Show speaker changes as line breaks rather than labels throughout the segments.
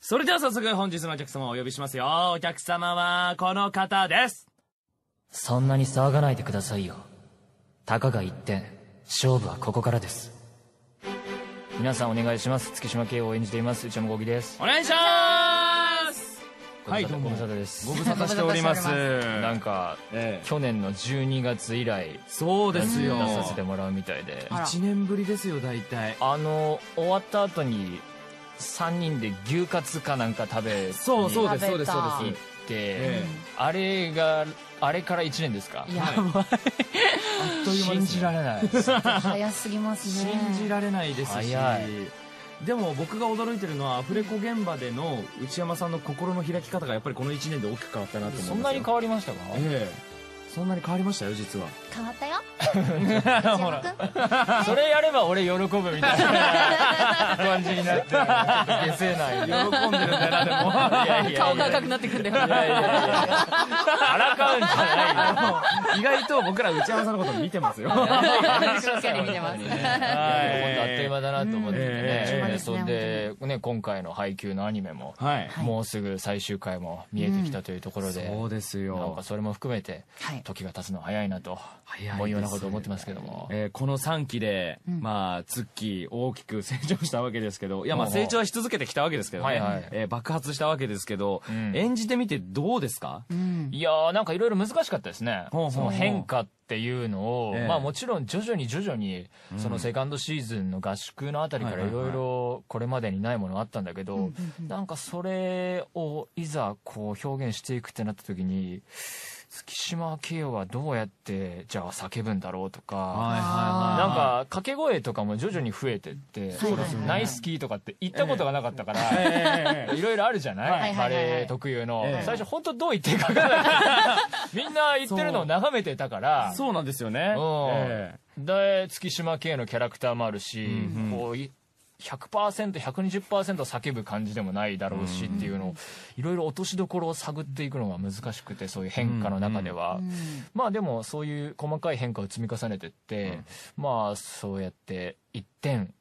それでは早速本日のお客様をお呼びしますよ。お客様はこの方です。
そんなに騒がないでくださいよ。たかが一点、勝負はここからです。皆さんお願いします。月島慶を演じています。内山豪樹です。
お願いしますはい、どうも
ご無。沙汰です
ご。無沙汰しております。
なんか、
ええ
去年の12月以来、
そうですよ。
出させてもらうみたいで。
あら
1年ぶりですよ、大体。
あの、終わった後に、3人で牛カツかなんか食べ、
そう、そうです、そう
食べ
です、
た
そう
行っ
です。
て、
え
あれが、あれから1年ですか
いや、
あっという間で
信
す
じ
ね
られない。
早すぎますね。
信じられないですし
早い
でも僕が驚いてるのはアフレコ現場での内山さんの心の開き方がやっぱりこの1年で大きく変わったなと 思
そんなに変
わ
わりましたか
ええそんなに変わりましたよ実は
変わった よ
ほら
内山
それやれば俺喜ぶみたいな感じになって消せない喜んでるん だなでも
顔が赤くなってくんだよ。
荒川んじゃないよ
意外と僕ら内山さんのこと見てますよ
しっかり見てます。
本当あっという間だなと思っててね、
え
え
それで、ね、今回の配給のアニメも、
はい
もうすぐ最終回も見えてきたというところで、
そうです
なん
よ
かそれも含めて
はい
時が経つの早いなと、
早いです
もういようなこと思ってますけども、
えーこの3期で、まあ、ツッキー大きく成長したわけですけど、いや、まあ、
ほうほう
成長はし続けてきたわけですけどね、
はいはい
えー爆発したわけですけど、
うん
演じてみてどうですか、
いやーなんかいろいろ難しかったですね。
ほうほうほう
その変化っていうのを、
ええ
まあもちろん徐々に徐々に、そのセカンドシーズンの合宿のあたりか
はい
ら
はいいはい
ろいろこれまでにないものあったんだけど、なんかそれをいざこう表現していくってなった時に、月島慶はどうやってじゃあ叫ぶんだろうとか、なん
は
か掛け声とかも徐々に増えてって、
そうですよね
ナイスキーとかって言ったことがなかったから、
いはいはい。えー
いろいろあるじゃない、
はい
バレエ特有の、
ええ
最初本当どう言っていいか分からないみんな言ってるのを眺めてたから
そうなんですよね。
うん
え
で月島系のキャラクターもあるし、
うん
こうい 100%120% 叫ぶ感じでもないだろうしっていうのをいろいろ落としどころを探っていくのが難しくてそういう変化の中では、まあでもそういう細かい変化を積み重ねてって、まあそうやって一点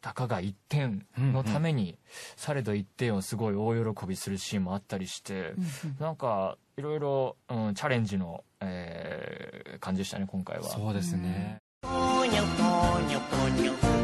たかが一点のためにされど一点をすごい大喜びするシーンもあったりして、なんかいろいろ、うん、チャレンジの、えー感じでしたね今回は。
そうですね。
Ponyo, ponyo, ponyo,